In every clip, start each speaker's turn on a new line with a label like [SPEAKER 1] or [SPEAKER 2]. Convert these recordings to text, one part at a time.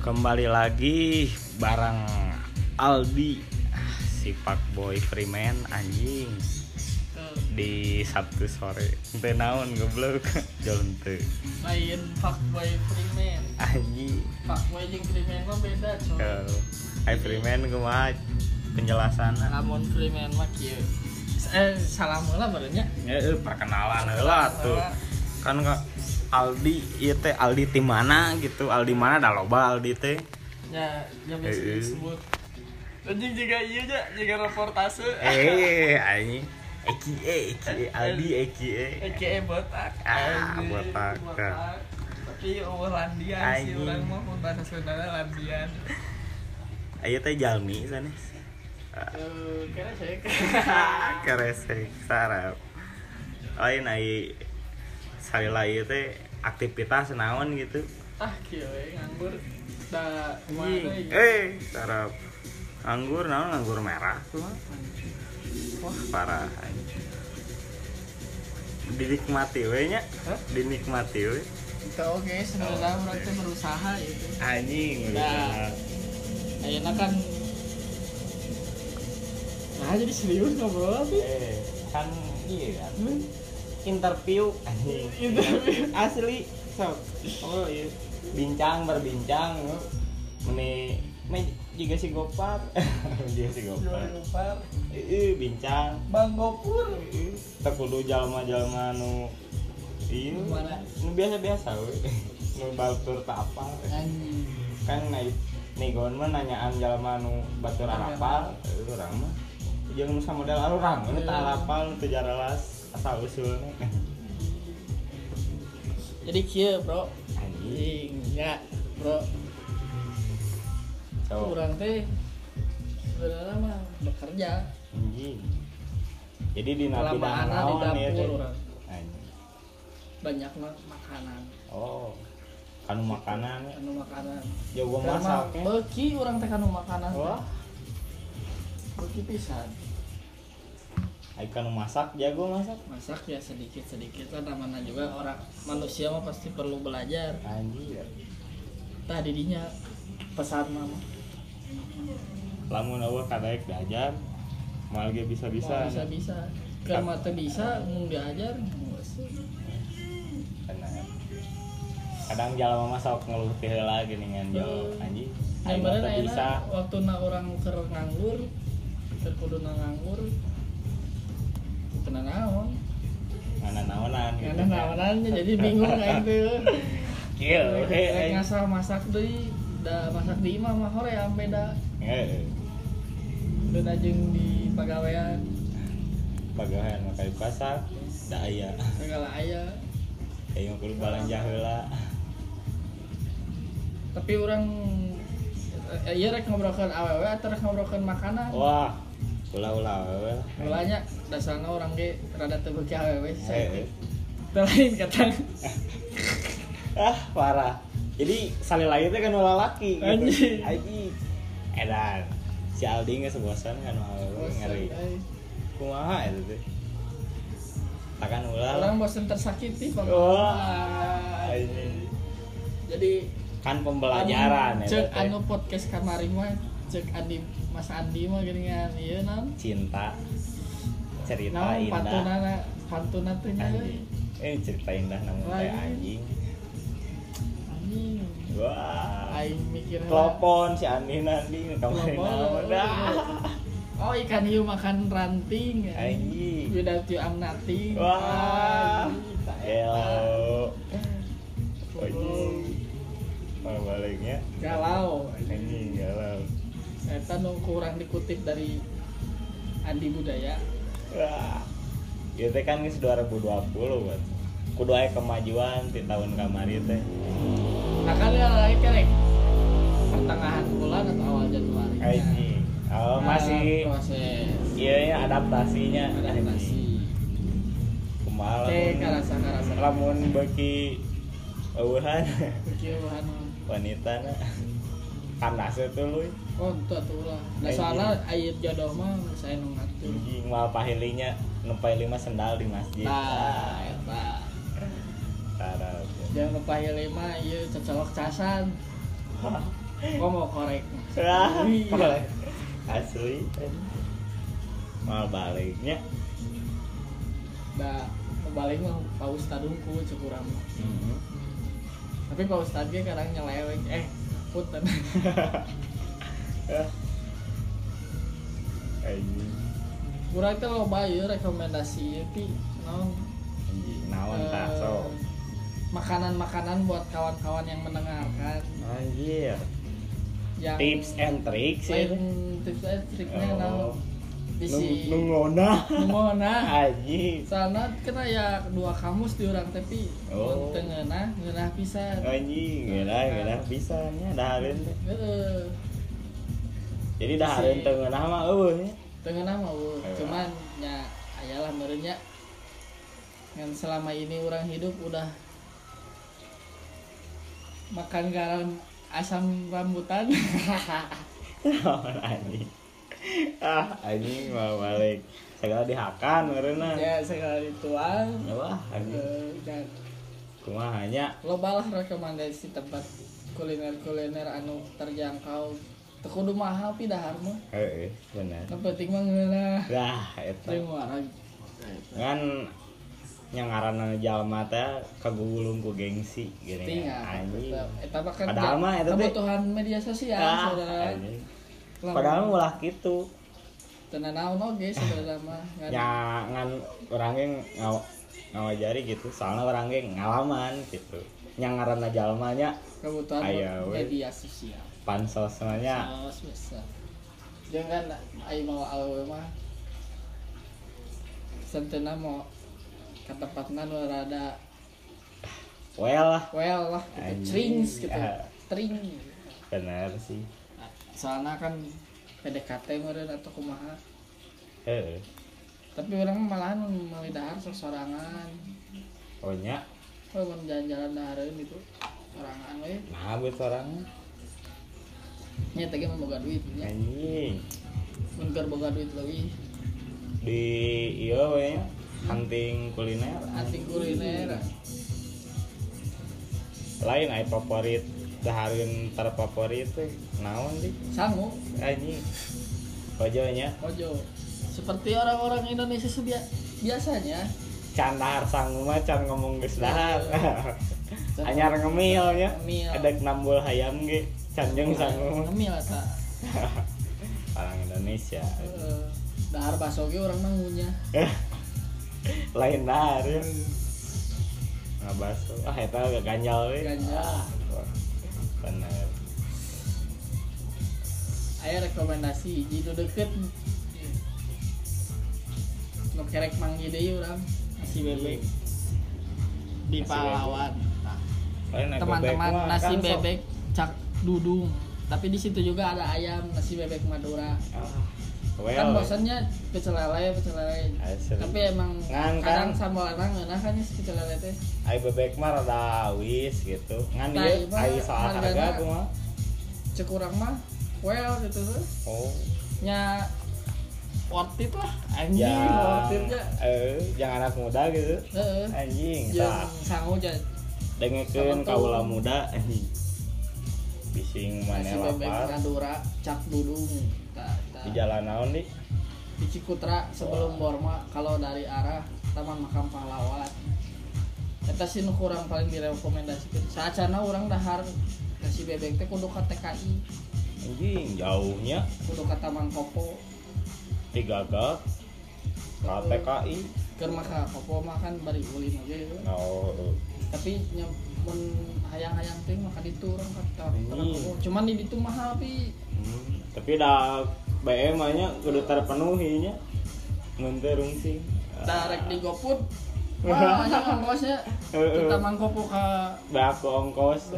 [SPEAKER 1] Kembali lagi barang Aldi Ah, si Pak Boy Freeman anjing
[SPEAKER 2] Tuh,
[SPEAKER 1] di Sabtu sore. Teu naon goblok. Jalan teu.
[SPEAKER 2] lain fuckboy freeman
[SPEAKER 1] Anjing.
[SPEAKER 2] fuckboy jeung freeman mah beda coy
[SPEAKER 1] Iya. Kalau I Freeman kumaha penjelasanna?
[SPEAKER 2] lamun freeman mah kieu eh salam heula barunya
[SPEAKER 1] Ya, perkenalan heula tuh. Kan ka- Aldi ieu teh Aldi ti mana gitu. Aldi mana da loba Aldi teh.
[SPEAKER 2] ya ya bisa
[SPEAKER 1] Eh, eh.
[SPEAKER 2] disebut anjing juga ieu nya juga reportase
[SPEAKER 1] Eh, anjing. Eki eh, Eki Aldi Eki eh.
[SPEAKER 2] Eke Eh, botak
[SPEAKER 1] Ah,
[SPEAKER 2] Anjing,
[SPEAKER 1] botak.
[SPEAKER 2] tapi eueuh landian sih
[SPEAKER 1] Anjing.
[SPEAKER 2] urang mah mun bahasa Sunda landian
[SPEAKER 1] Ayo teh jalmi sanes. Ah.
[SPEAKER 2] Eh, kena cek
[SPEAKER 1] Keresek sarap. Lain ai salila ieu teh aktivitas naon gitu.
[SPEAKER 2] ah kieu we, nganggur da
[SPEAKER 1] Ih,
[SPEAKER 2] mana ya? ieu?
[SPEAKER 1] Eh, sarap. Anggur naon anggur merah tuh. mah. Wah, parah. anjing. Dinikmati we nya.
[SPEAKER 2] Hah?
[SPEAKER 1] Dinikmati we.
[SPEAKER 2] Itu oke, sebenarnya
[SPEAKER 1] Oh,
[SPEAKER 2] orang
[SPEAKER 1] iya.
[SPEAKER 2] tuh berusaha gitu.
[SPEAKER 1] Anjing.
[SPEAKER 2] Nah. Ayeuna kan Nah, jadi serius ngobrol sih.
[SPEAKER 1] Eh, kan iya kan.
[SPEAKER 2] Hmm?
[SPEAKER 1] Interview anjing.
[SPEAKER 2] Interview.
[SPEAKER 1] Asli sob.
[SPEAKER 2] Oh iya.
[SPEAKER 1] bincang berbincang meni me juga si gopar juga si
[SPEAKER 2] Jual
[SPEAKER 1] gopar
[SPEAKER 2] lupa
[SPEAKER 1] Ieu, bincang
[SPEAKER 2] Bang Gopur.
[SPEAKER 1] Ieu, teu kudu jalma-jalma nu ieu
[SPEAKER 2] Gimana?
[SPEAKER 1] nu biasa-biasa we nu batur tak apa
[SPEAKER 2] Anjing.
[SPEAKER 1] kan naik nigon mah nanyaan jalma nu batur hafal eh, urang mah jeung nu samodal urang nu tak hafal teu jaralas asal usulna
[SPEAKER 2] Jadi kieu, Bro.
[SPEAKER 1] anjing
[SPEAKER 2] Anjing, ya, Bro.
[SPEAKER 1] so
[SPEAKER 2] Kurang teh sebenarnya mah bekerja.
[SPEAKER 1] anjing jadi di nabi
[SPEAKER 2] Kelamaan lah di
[SPEAKER 1] naon ya
[SPEAKER 2] dapur
[SPEAKER 1] teh
[SPEAKER 2] urang.
[SPEAKER 1] anjing
[SPEAKER 2] Banyak mah makanan,
[SPEAKER 1] Oh, kanu makanan
[SPEAKER 2] anu makanan.
[SPEAKER 1] jago
[SPEAKER 2] Karena
[SPEAKER 1] masak. ya. Oh.
[SPEAKER 2] beuki urang teh kanu makanan. teh.
[SPEAKER 1] Wah,
[SPEAKER 2] Beuki pisan.
[SPEAKER 1] ai kanu masak jago masak.
[SPEAKER 2] masak ya sedikit sedikit lah namanya juga orang manusia mah pasti perlu belajar
[SPEAKER 1] Anjir.
[SPEAKER 2] tah didinya pesan mama
[SPEAKER 1] Lamun awak kadaek belajar, malah ge bisa-bisa.
[SPEAKER 2] bisa bisa kan mata bisa mau diajar mau sih.
[SPEAKER 1] Tenang. Kadang jalma masak ngeluh teh heula geuningan jauh anjing. Ai mah
[SPEAKER 2] Hmm. yang bener
[SPEAKER 1] teu bisa.
[SPEAKER 2] enak waktu na orang keur nganggur keur kudu na nganggur kena naon
[SPEAKER 1] Ngana naonan gitu.
[SPEAKER 2] karena naonannya jadi bingung kan tuh
[SPEAKER 1] Kieu we,
[SPEAKER 2] Rek
[SPEAKER 1] anjing.
[SPEAKER 2] ngasal masak deui da masak di imah mah hore ampe da
[SPEAKER 1] Heeh.
[SPEAKER 2] da najeng di pagawean
[SPEAKER 1] Pagawean mah kayu kasak, da aya.
[SPEAKER 2] segala aya
[SPEAKER 1] Ayeuna kudu balanja heula.
[SPEAKER 2] tapi orang eh, iya rek ngobrolkan aww atau rek ngobrolkan makanan
[SPEAKER 1] Wah, ulah-ulah we.
[SPEAKER 2] mulanya dasarnya orang ge rada tebeki aww
[SPEAKER 1] Heeh.
[SPEAKER 2] saya lain kata
[SPEAKER 1] ah parah jadi sali lagi teh kan lalaki gitu
[SPEAKER 2] Anjing.
[SPEAKER 1] anjing edan si Aldi nggak sebosan kan malu Oh, ngeri
[SPEAKER 2] eh.
[SPEAKER 1] kumaha itu teh akan ulah
[SPEAKER 2] orang bosan tersakiti Bang.
[SPEAKER 1] Wah.
[SPEAKER 2] Ah,
[SPEAKER 1] Anjing.
[SPEAKER 2] jadi
[SPEAKER 1] kan pembelajaran
[SPEAKER 2] anu-
[SPEAKER 1] eta
[SPEAKER 2] cek
[SPEAKER 1] teh.
[SPEAKER 2] anu podcast kamari mah cek Andi Mas Andi mah geuningan ieu naon
[SPEAKER 1] cinta cerita
[SPEAKER 2] naon
[SPEAKER 1] indah
[SPEAKER 2] pantunana pantuna teh nya
[SPEAKER 1] anjing eh cerita indah namun teh
[SPEAKER 2] Anjing.
[SPEAKER 1] anjing
[SPEAKER 2] anjing
[SPEAKER 1] wah
[SPEAKER 2] aing mikir
[SPEAKER 1] telepon si Andi nanti kemarin
[SPEAKER 2] Telepon. oh ikan hiu makan ranting ya?
[SPEAKER 1] anjing
[SPEAKER 2] Without you I'm nothing. Ah, ya.
[SPEAKER 1] Wah. Elo.
[SPEAKER 2] Galau.
[SPEAKER 1] Kalau baliknya
[SPEAKER 2] Galau.
[SPEAKER 1] anjing galau.
[SPEAKER 2] Eta nu kurang dikutip dari Andi Budaya.
[SPEAKER 1] Wah. Ieu teh kan geus 2020 buat. Kudu aya kemajuan di tahun kamari teh.
[SPEAKER 2] Nah kan ya lagi kerek. Pertengahan bulan atau awal Januari. Nah,
[SPEAKER 1] Anjing. Oh, masih
[SPEAKER 2] proses
[SPEAKER 1] ieu nya adaptasinya. Anjing.
[SPEAKER 2] adaptasi.
[SPEAKER 1] Kumaha lamun-
[SPEAKER 2] Oke, karasa karasa.
[SPEAKER 1] lamun beki eueuhan
[SPEAKER 2] Kekieuhan.
[SPEAKER 1] wanita na. Kandasnya tuh lu
[SPEAKER 2] Oh, itu atuh lah. Da
[SPEAKER 1] Anjing.
[SPEAKER 2] soalnya air jodoh mah saya nu ngatur.
[SPEAKER 1] anjing mal pahilinya nempai lima sendal di masjid.
[SPEAKER 2] Nah, eta.
[SPEAKER 1] Tarap.
[SPEAKER 2] Jangan lupa ya lima, iya cocolok casan. Gua mau korek.
[SPEAKER 1] Wah,
[SPEAKER 2] Iya.
[SPEAKER 1] boleh. Asli. Mal baliknya.
[SPEAKER 2] Da, balik mah Pak Ustad dungku cukuran. Mm-hmm.
[SPEAKER 1] Mhm.
[SPEAKER 2] Tapi Pak Ustad ge kadang nyeleweng. Eh, putan.
[SPEAKER 1] Eh. Anjing.
[SPEAKER 2] Kurang teh lo bayar rekomendasi ti. Naon?
[SPEAKER 1] Anjing naon
[SPEAKER 2] Eh,
[SPEAKER 1] tah sok.
[SPEAKER 2] Makanan-makanan buat kawan-kawan yang mendengarkan.
[SPEAKER 1] Anjir.
[SPEAKER 2] Yang
[SPEAKER 1] Tips and tricks ya.
[SPEAKER 2] lain tips and triknya
[SPEAKER 1] Oh.
[SPEAKER 2] naon? Bisi.
[SPEAKER 1] Nu ngona.
[SPEAKER 2] Ngona.
[SPEAKER 1] Anjing.
[SPEAKER 2] Soalnya kena ya dua kamus di orang tepi
[SPEAKER 1] Oh.
[SPEAKER 2] oh. Tengenah, ngenah pisan
[SPEAKER 1] Anjing, geuna geuna pisannya dahareun teh.
[SPEAKER 2] Heeh.
[SPEAKER 1] Jadi dahareun teu ngeunah mah eueuh ya. nya.
[SPEAKER 2] Tengenah mau
[SPEAKER 1] Ayo.
[SPEAKER 2] oh. Cuman ya ayalah merenya Yang selama ini orang hidup udah Makan garam asam rambutan
[SPEAKER 1] Naon anjing. Ah, anjing mau balik. Segala dihakan meureunna.
[SPEAKER 2] Ya sekali tuang
[SPEAKER 1] Wah, anjing.
[SPEAKER 2] Eh, dan
[SPEAKER 1] Kumaha nya?
[SPEAKER 2] Lobalah rekomendasi tempat kuliner-kuliner anu terjangkau Tekudu mahal pidahar mah
[SPEAKER 1] Heeh, bener.
[SPEAKER 2] Yang penting mah ngeunah.
[SPEAKER 1] Dah, eta.
[SPEAKER 2] Jeung warang.
[SPEAKER 1] kan yang ngaran jalma teh kagulung ku gengsi gini
[SPEAKER 2] Tinggal.
[SPEAKER 1] kan anjing
[SPEAKER 2] tetep. Eta mah kan
[SPEAKER 1] Padahal
[SPEAKER 2] ja-
[SPEAKER 1] mah eta teh-
[SPEAKER 2] kebutuhan media sosial
[SPEAKER 1] ah,
[SPEAKER 2] saudara.
[SPEAKER 1] anjing.
[SPEAKER 2] Lamun
[SPEAKER 1] padahal mah ulah gitu
[SPEAKER 2] teu nanaon oge saudara mah. Kan Ngan-
[SPEAKER 1] ya ngan orang yang ngaw ngawajari gitu soalnya orang yang ngalaman gitu yang ngaran jalmanya
[SPEAKER 2] kebutuhan
[SPEAKER 1] Aya we.
[SPEAKER 2] media sosial.
[SPEAKER 1] pansosnya
[SPEAKER 2] Saos biasa. Jeung kan ai mau awewe mah sentena mau ka tempatna nu rada
[SPEAKER 1] well lah
[SPEAKER 2] well lah
[SPEAKER 1] Anjing.
[SPEAKER 2] gitu, trings gitu.
[SPEAKER 1] Ah.
[SPEAKER 2] Tring.
[SPEAKER 1] bener sih
[SPEAKER 2] Soalna kan PDKT meureun atau kumaha.
[SPEAKER 1] heeh
[SPEAKER 2] tapi orang malahan melalui dahar sorangan
[SPEAKER 1] oh nya
[SPEAKER 2] kalau mau jalan-jalan daharin gitu sorangan we
[SPEAKER 1] nah buat orang
[SPEAKER 2] nya tadi mau boga duit nya
[SPEAKER 1] anjing
[SPEAKER 2] mun keur boga duit leuwih
[SPEAKER 1] di iya we nya. hunting kuliner
[SPEAKER 2] anti kuliner
[SPEAKER 1] lain ay favorit dahareun terfavorit teh naon Ah, di
[SPEAKER 2] sangu
[SPEAKER 1] anjing ojonya
[SPEAKER 2] ojo seperti orang-orang Indonesia sebia biasanya
[SPEAKER 1] can dahar sangu mah can ngomong geus dahar
[SPEAKER 2] Can-
[SPEAKER 1] anyar ngemil nya
[SPEAKER 2] Ngemil. Iya.
[SPEAKER 1] ada nambul hayam ge can jeung sangu mah.
[SPEAKER 2] ngemil eta
[SPEAKER 1] orang Indonesia
[SPEAKER 2] Heeh. dahar baso ge urang mah ngunyah
[SPEAKER 1] lain dahar ya ngabaso ah eta gak ganjal we
[SPEAKER 2] Ganjal.
[SPEAKER 1] Ah, bener
[SPEAKER 2] aya rekomendasi hiji nu deukeut nu kerek manggi deui urang nasi bebek di
[SPEAKER 1] Nasi
[SPEAKER 2] Pahlawan Nah,
[SPEAKER 1] Lain naik
[SPEAKER 2] teman-teman
[SPEAKER 1] bebek mah
[SPEAKER 2] nasi
[SPEAKER 1] kan sok.
[SPEAKER 2] bebek cak dudung tapi di situ juga ada ayam nasi bebek Madura
[SPEAKER 1] Ah,
[SPEAKER 2] kan
[SPEAKER 1] well
[SPEAKER 2] bosannya pecel lele pecel lele
[SPEAKER 1] Asli.
[SPEAKER 2] tapi emang
[SPEAKER 1] Ngan,
[SPEAKER 2] kadang
[SPEAKER 1] kan?
[SPEAKER 2] sambal lanang ngeunah kan ya si pecel lele teh
[SPEAKER 1] ai bebek mah rada wis gitu ngan
[SPEAKER 2] Nah,
[SPEAKER 1] ieu
[SPEAKER 2] iya,
[SPEAKER 1] ai soal
[SPEAKER 2] hargana.
[SPEAKER 1] harga kumaha
[SPEAKER 2] cek kurang mah well gitu tuh
[SPEAKER 1] oh
[SPEAKER 2] nya worth it lah anjing
[SPEAKER 1] ya
[SPEAKER 2] worth it ya
[SPEAKER 1] eh yang anak muda gitu
[SPEAKER 2] heeh
[SPEAKER 1] anjing
[SPEAKER 2] jeung
[SPEAKER 1] tah
[SPEAKER 2] sangu jeung
[SPEAKER 1] dengekeun
[SPEAKER 2] Sama
[SPEAKER 1] kaula
[SPEAKER 2] tuh.
[SPEAKER 1] muda anjing bising
[SPEAKER 2] nasi
[SPEAKER 1] maneh
[SPEAKER 2] bebek
[SPEAKER 1] lapar
[SPEAKER 2] Madura cak dudung Tah, tah.
[SPEAKER 1] di jalan naon di
[SPEAKER 2] di Cikutra sebelum Borma kalau dari arah Taman Makam Pahlawan eta sih nu kurang paling direkomendasikan saacana urang dahar nasi bebek teh kudu ka TKI
[SPEAKER 1] anjing jauhnya
[SPEAKER 2] kudu ka Taman Kopo
[SPEAKER 1] tiga gak ka TKI
[SPEAKER 2] keur mah ka Kopo mah kan bari ulin oge
[SPEAKER 1] no
[SPEAKER 2] tapi nyamun hayang-hayang teh mah ka ditu urang ka Taman
[SPEAKER 1] Hmm.
[SPEAKER 2] Kopo cuman di ditu mahal pi
[SPEAKER 1] Hmm, tapi dah BM nya kudu terpenuhi nya mun teu rungsing
[SPEAKER 2] da rek di GoFood Wah, anjing ongkosnya
[SPEAKER 1] Heeh.
[SPEAKER 2] ke Taman Kopo ka
[SPEAKER 1] baku ongkos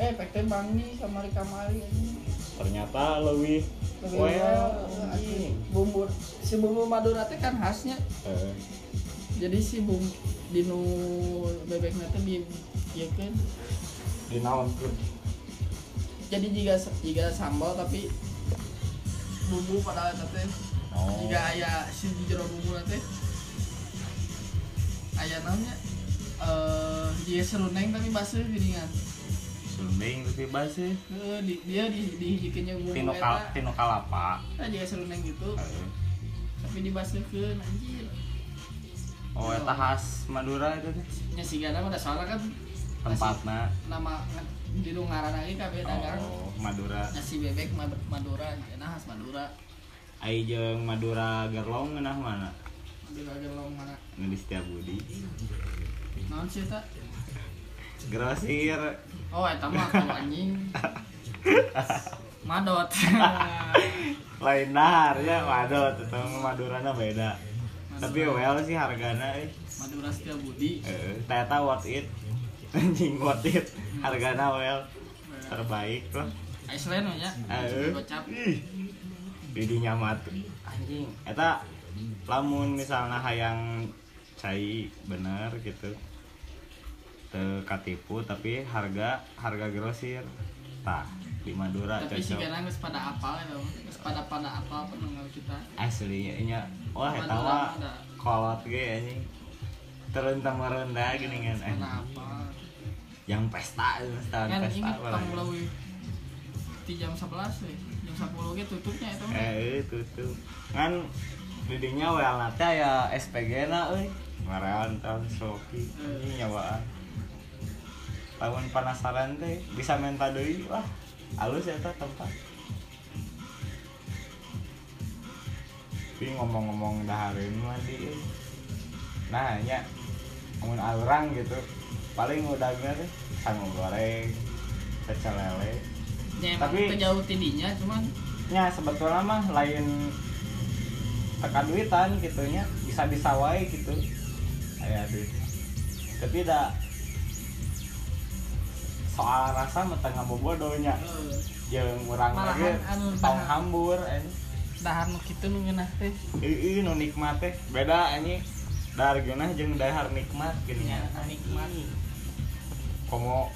[SPEAKER 2] eh pek teh bangi sama Rika Mari anjing.
[SPEAKER 1] ternyata lebih well anjing
[SPEAKER 2] Iya, bumbu si bumbu Madura teh kan khasnya
[SPEAKER 1] Eh,
[SPEAKER 2] jadi si bumbu dinu bebek nanti di ya kan
[SPEAKER 1] di naon pun
[SPEAKER 2] jadi jika jika sambal tapi bumbu pada teh
[SPEAKER 1] Oh.
[SPEAKER 2] jika ayah si di jero bumbu nanti ayah namanya eh dia serundeng tapi baseuh geuningan.
[SPEAKER 1] Sunding tapi basi.
[SPEAKER 2] Heeh, di, dia di dihijikeun jeung bumbu
[SPEAKER 1] Tino kal
[SPEAKER 2] eta.
[SPEAKER 1] tino kalapa. Eh.
[SPEAKER 2] Nah, dia serundeng gitu
[SPEAKER 1] Heuh.
[SPEAKER 2] tapi dibaseuhkeun anjir.
[SPEAKER 1] Oh eta khas Madura itu teh.
[SPEAKER 2] Nya sigana mah da soalna kan
[SPEAKER 1] Tempatna.
[SPEAKER 2] nama di ngaran lagi kabeh dagang.
[SPEAKER 1] Oh, Madura.
[SPEAKER 2] Nasi bebek Ma- Madura, nah khas Madura.
[SPEAKER 1] Ai jeung Madura Gerlong ngeunah mana?
[SPEAKER 2] Madura gelong mana?
[SPEAKER 1] Nu di Setiabudi.
[SPEAKER 2] Naon sih eta?
[SPEAKER 1] Grosir.
[SPEAKER 2] Oh, eta mah kalau anjing. Madot.
[SPEAKER 1] Lain dahar ya, waduh, tetangga Madurana beda. Tapi well sih hargana eh.
[SPEAKER 2] Madura Setia Budi.
[SPEAKER 1] Eh, ternyata worth it anjing worth it hargana well terbaik lah
[SPEAKER 2] Iceland nya.
[SPEAKER 1] Heeh.
[SPEAKER 2] Gocap.
[SPEAKER 1] Ih, jadi nyamat anjing eta lamun misalnya hayang cai bener gitu teu katipu tapi harga harga grosir tah di Madura
[SPEAKER 2] Tapi si
[SPEAKER 1] cocok
[SPEAKER 2] Gana geus pada apal ya, Bang. Geus pada pada apal pendengar kita.
[SPEAKER 1] aslinya nya wah eta
[SPEAKER 2] Madura
[SPEAKER 1] mah
[SPEAKER 2] ada.
[SPEAKER 1] kolot ge anjing terun temerun dah gini kan
[SPEAKER 2] Pada apal.
[SPEAKER 1] yang pesta itu tahun
[SPEAKER 2] Kan ini
[SPEAKER 1] pesta malah.
[SPEAKER 2] tong leuwih di jam 11 we. Jam 10 ge tutupnya eta mah.
[SPEAKER 1] eh tutup kan didinya well nate ya SPG na euy ngarean tahun Sophie ini nyawaan tahun penasaran teh bisa menta deui wah halus ya tempat tapi ngomong-ngomong dahareun mah di euy. nah nya mun orang gitu paling udahnya teh sangu goreng pecel lele
[SPEAKER 2] Ya emang
[SPEAKER 1] Tapi-
[SPEAKER 2] teu jauh tidinya cuman
[SPEAKER 1] ya sebetulnya mah lain teka duitan gitunya bisa bisa wae gitu aya duit tapi da soal rasa metengah bobodonya
[SPEAKER 2] eh,
[SPEAKER 1] jeung urang
[SPEAKER 2] Malahan
[SPEAKER 1] lagi
[SPEAKER 2] anu
[SPEAKER 1] tong
[SPEAKER 2] bahan-
[SPEAKER 1] hambur eh
[SPEAKER 2] dahar nu kitu nu ngeunah teh.
[SPEAKER 1] ieu nu nikmat teh beda anjing dahar geunah jeung dahar nikmat gini
[SPEAKER 2] Ya, nikmat.
[SPEAKER 1] komo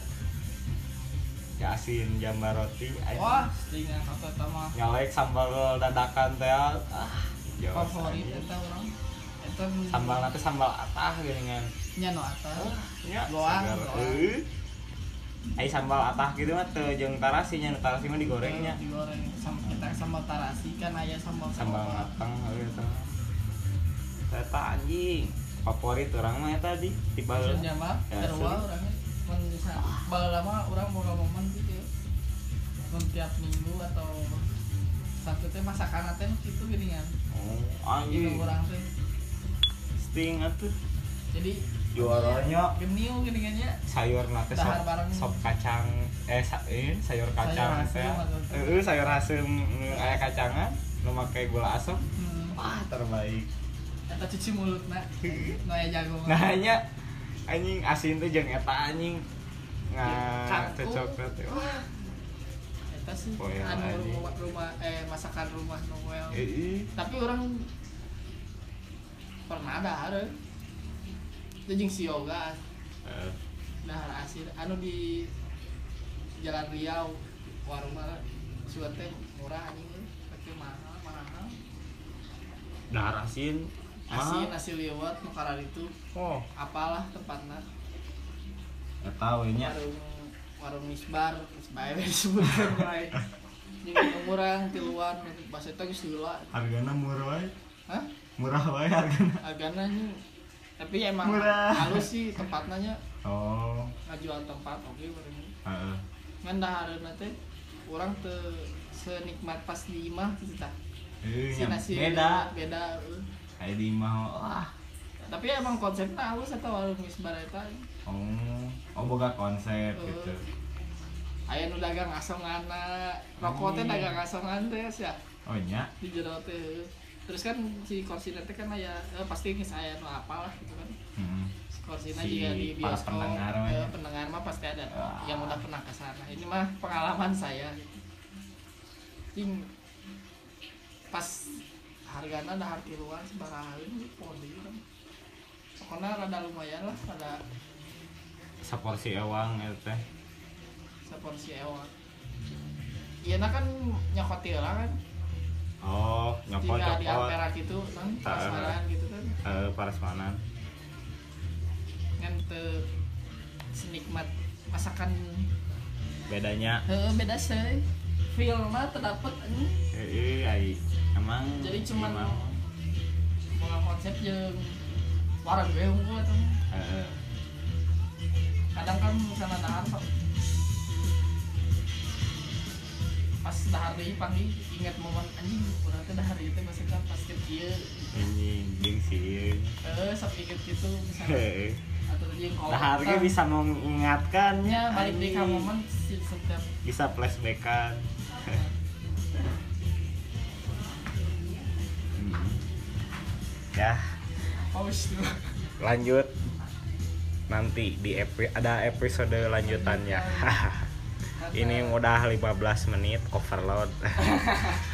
[SPEAKER 1] ya asin jambar roti anjing.
[SPEAKER 2] Wah, seringan atau eta mah
[SPEAKER 1] nyalek sambal dadakan teh ah jauh
[SPEAKER 2] favorit
[SPEAKER 1] anjing.
[SPEAKER 2] eta orang eta
[SPEAKER 1] sambal nanti sambal atah gitu kan
[SPEAKER 2] nyano atas
[SPEAKER 1] ya
[SPEAKER 2] Ah, Goang,
[SPEAKER 1] segar.
[SPEAKER 2] goang.
[SPEAKER 1] Eh. Ai sambal atah gitu mah teu jeung tarasi nya nu tarasi mah digorengnya
[SPEAKER 2] digoreng sama eta sambal tarasi kan aya sambal
[SPEAKER 1] sambal matang gitu eta anjing favorit orang mah eta di di baheula.
[SPEAKER 2] maksudnya mah
[SPEAKER 1] Ya,
[SPEAKER 2] terwa
[SPEAKER 1] seru.
[SPEAKER 2] orangnya mun bisa baheula mah urang boga momen gitu mun tiap minggu atau satu teh masakan teh nu kitu geuningan
[SPEAKER 1] oh,
[SPEAKER 2] gitu
[SPEAKER 1] anjing
[SPEAKER 2] urang teh
[SPEAKER 1] sting atuh
[SPEAKER 2] jadi
[SPEAKER 1] juaranya
[SPEAKER 2] geniu geuningannya
[SPEAKER 1] sayur nate sop,
[SPEAKER 2] Dahar bareng.
[SPEAKER 1] sop kacang eh sa, eh, sayur kacang
[SPEAKER 2] hasem,
[SPEAKER 1] teh.
[SPEAKER 2] maksudnya.
[SPEAKER 1] Heeh, sayur asem eh, aya kacangan ah, nu make gula asem
[SPEAKER 2] hmm,
[SPEAKER 1] wah terbaik
[SPEAKER 2] eta cuci mulutna nu aya jago
[SPEAKER 1] nah hanya anjing asin tuh jeung eta anjing nah
[SPEAKER 2] Kangkung.
[SPEAKER 1] cocoknya teh wah
[SPEAKER 2] eta sih
[SPEAKER 1] Poel
[SPEAKER 2] anu
[SPEAKER 1] anjing.
[SPEAKER 2] rumah, rumah eh masakan rumah Noel
[SPEAKER 1] eh
[SPEAKER 2] tapi orang pernah dahar eh. itu jeung si yoga
[SPEAKER 1] eh.
[SPEAKER 2] dahar asir anu di jalan Riau warung mana suan teh murah anjing eh. pakai mahal mahal
[SPEAKER 1] dahar asin
[SPEAKER 2] asin
[SPEAKER 1] mahal.
[SPEAKER 2] nasi liwet makanan itu
[SPEAKER 1] oh
[SPEAKER 2] apalah tempatnya
[SPEAKER 1] eta we nya
[SPEAKER 2] warung warung misbar misbar disebutkan baik jadi kurang tiluan bahasa itu geus heula
[SPEAKER 1] hargana murah wae
[SPEAKER 2] hah
[SPEAKER 1] murah wae hargana
[SPEAKER 2] agana nya. tapi ya emang
[SPEAKER 1] Murah.
[SPEAKER 2] halus sih tempatnya nya.
[SPEAKER 1] oh
[SPEAKER 2] ngajuan tempat oke bareng
[SPEAKER 1] heeh
[SPEAKER 2] ngan dahareuna teh urang teu senikmat pas di imah gitu tah
[SPEAKER 1] Eh,
[SPEAKER 2] Si
[SPEAKER 1] nya
[SPEAKER 2] nasi
[SPEAKER 1] beda
[SPEAKER 2] beda eh.
[SPEAKER 1] kayak di imah wah
[SPEAKER 2] tapi emang konsepnya halus eta warung misbar ah. eta
[SPEAKER 1] oh oh boga konsep
[SPEAKER 2] Eh.
[SPEAKER 1] gitu
[SPEAKER 2] aya nu dagang asonganna rokok teh
[SPEAKER 1] Hmm.
[SPEAKER 2] dagang asongan teh sia
[SPEAKER 1] oh nya
[SPEAKER 2] di jero teh eh. terus kan si korsina teh kan aya eh, pasti geus aya nu apal lah gitu kan
[SPEAKER 1] Heeh.
[SPEAKER 2] Korsina
[SPEAKER 1] Si
[SPEAKER 2] juga di
[SPEAKER 1] para
[SPEAKER 2] bioskop
[SPEAKER 1] pendengar
[SPEAKER 2] eh,
[SPEAKER 1] mah ya.
[SPEAKER 2] pendengar mah pasti ada
[SPEAKER 1] Wah.
[SPEAKER 2] yang udah pernah ke sana ini mah pengalaman saya Ting pas hargana dahar tiluan sebarang ini poli kan pokoknya rada lumayan lah rada
[SPEAKER 1] saporsi ewang eta teh
[SPEAKER 2] seporsi ewa iya nah kan nyokoti lah kan
[SPEAKER 1] oh nyopot
[SPEAKER 2] jika di
[SPEAKER 1] nyopot Ah.
[SPEAKER 2] ampera gitu kan
[SPEAKER 1] Heeh.
[SPEAKER 2] pasaran gitu kan
[SPEAKER 1] eh parasmanan
[SPEAKER 2] kan teu senikmat masakan
[SPEAKER 1] bedanya
[SPEAKER 2] heuh beda sih feel mah terdapat
[SPEAKER 1] eh eh, ai. emang
[SPEAKER 2] jadi cuman
[SPEAKER 1] emang,
[SPEAKER 2] boga konsep jeung warung gue unggul tuh
[SPEAKER 1] eh, eh.
[SPEAKER 2] kadang kan misalnya dahar Pak. pas dahar deui panggil ingat momen anjing urang teh dahar ieu teh maksudnya pas ke kieu
[SPEAKER 1] anjing gengsi
[SPEAKER 2] eh sok inget gitu misalnya
[SPEAKER 1] Eh, eh.
[SPEAKER 2] atau tadi yang kolot
[SPEAKER 1] Nah, harga
[SPEAKER 2] kan.
[SPEAKER 1] bisa mengingatkannya
[SPEAKER 2] Ya, balik di
[SPEAKER 1] anjing.
[SPEAKER 2] momen si setiap
[SPEAKER 1] bisa flashbackan Hmm. ya
[SPEAKER 2] paus tuh
[SPEAKER 1] lanjut nanti di epi- ada episode lanjutannya ini udah 15 menit overload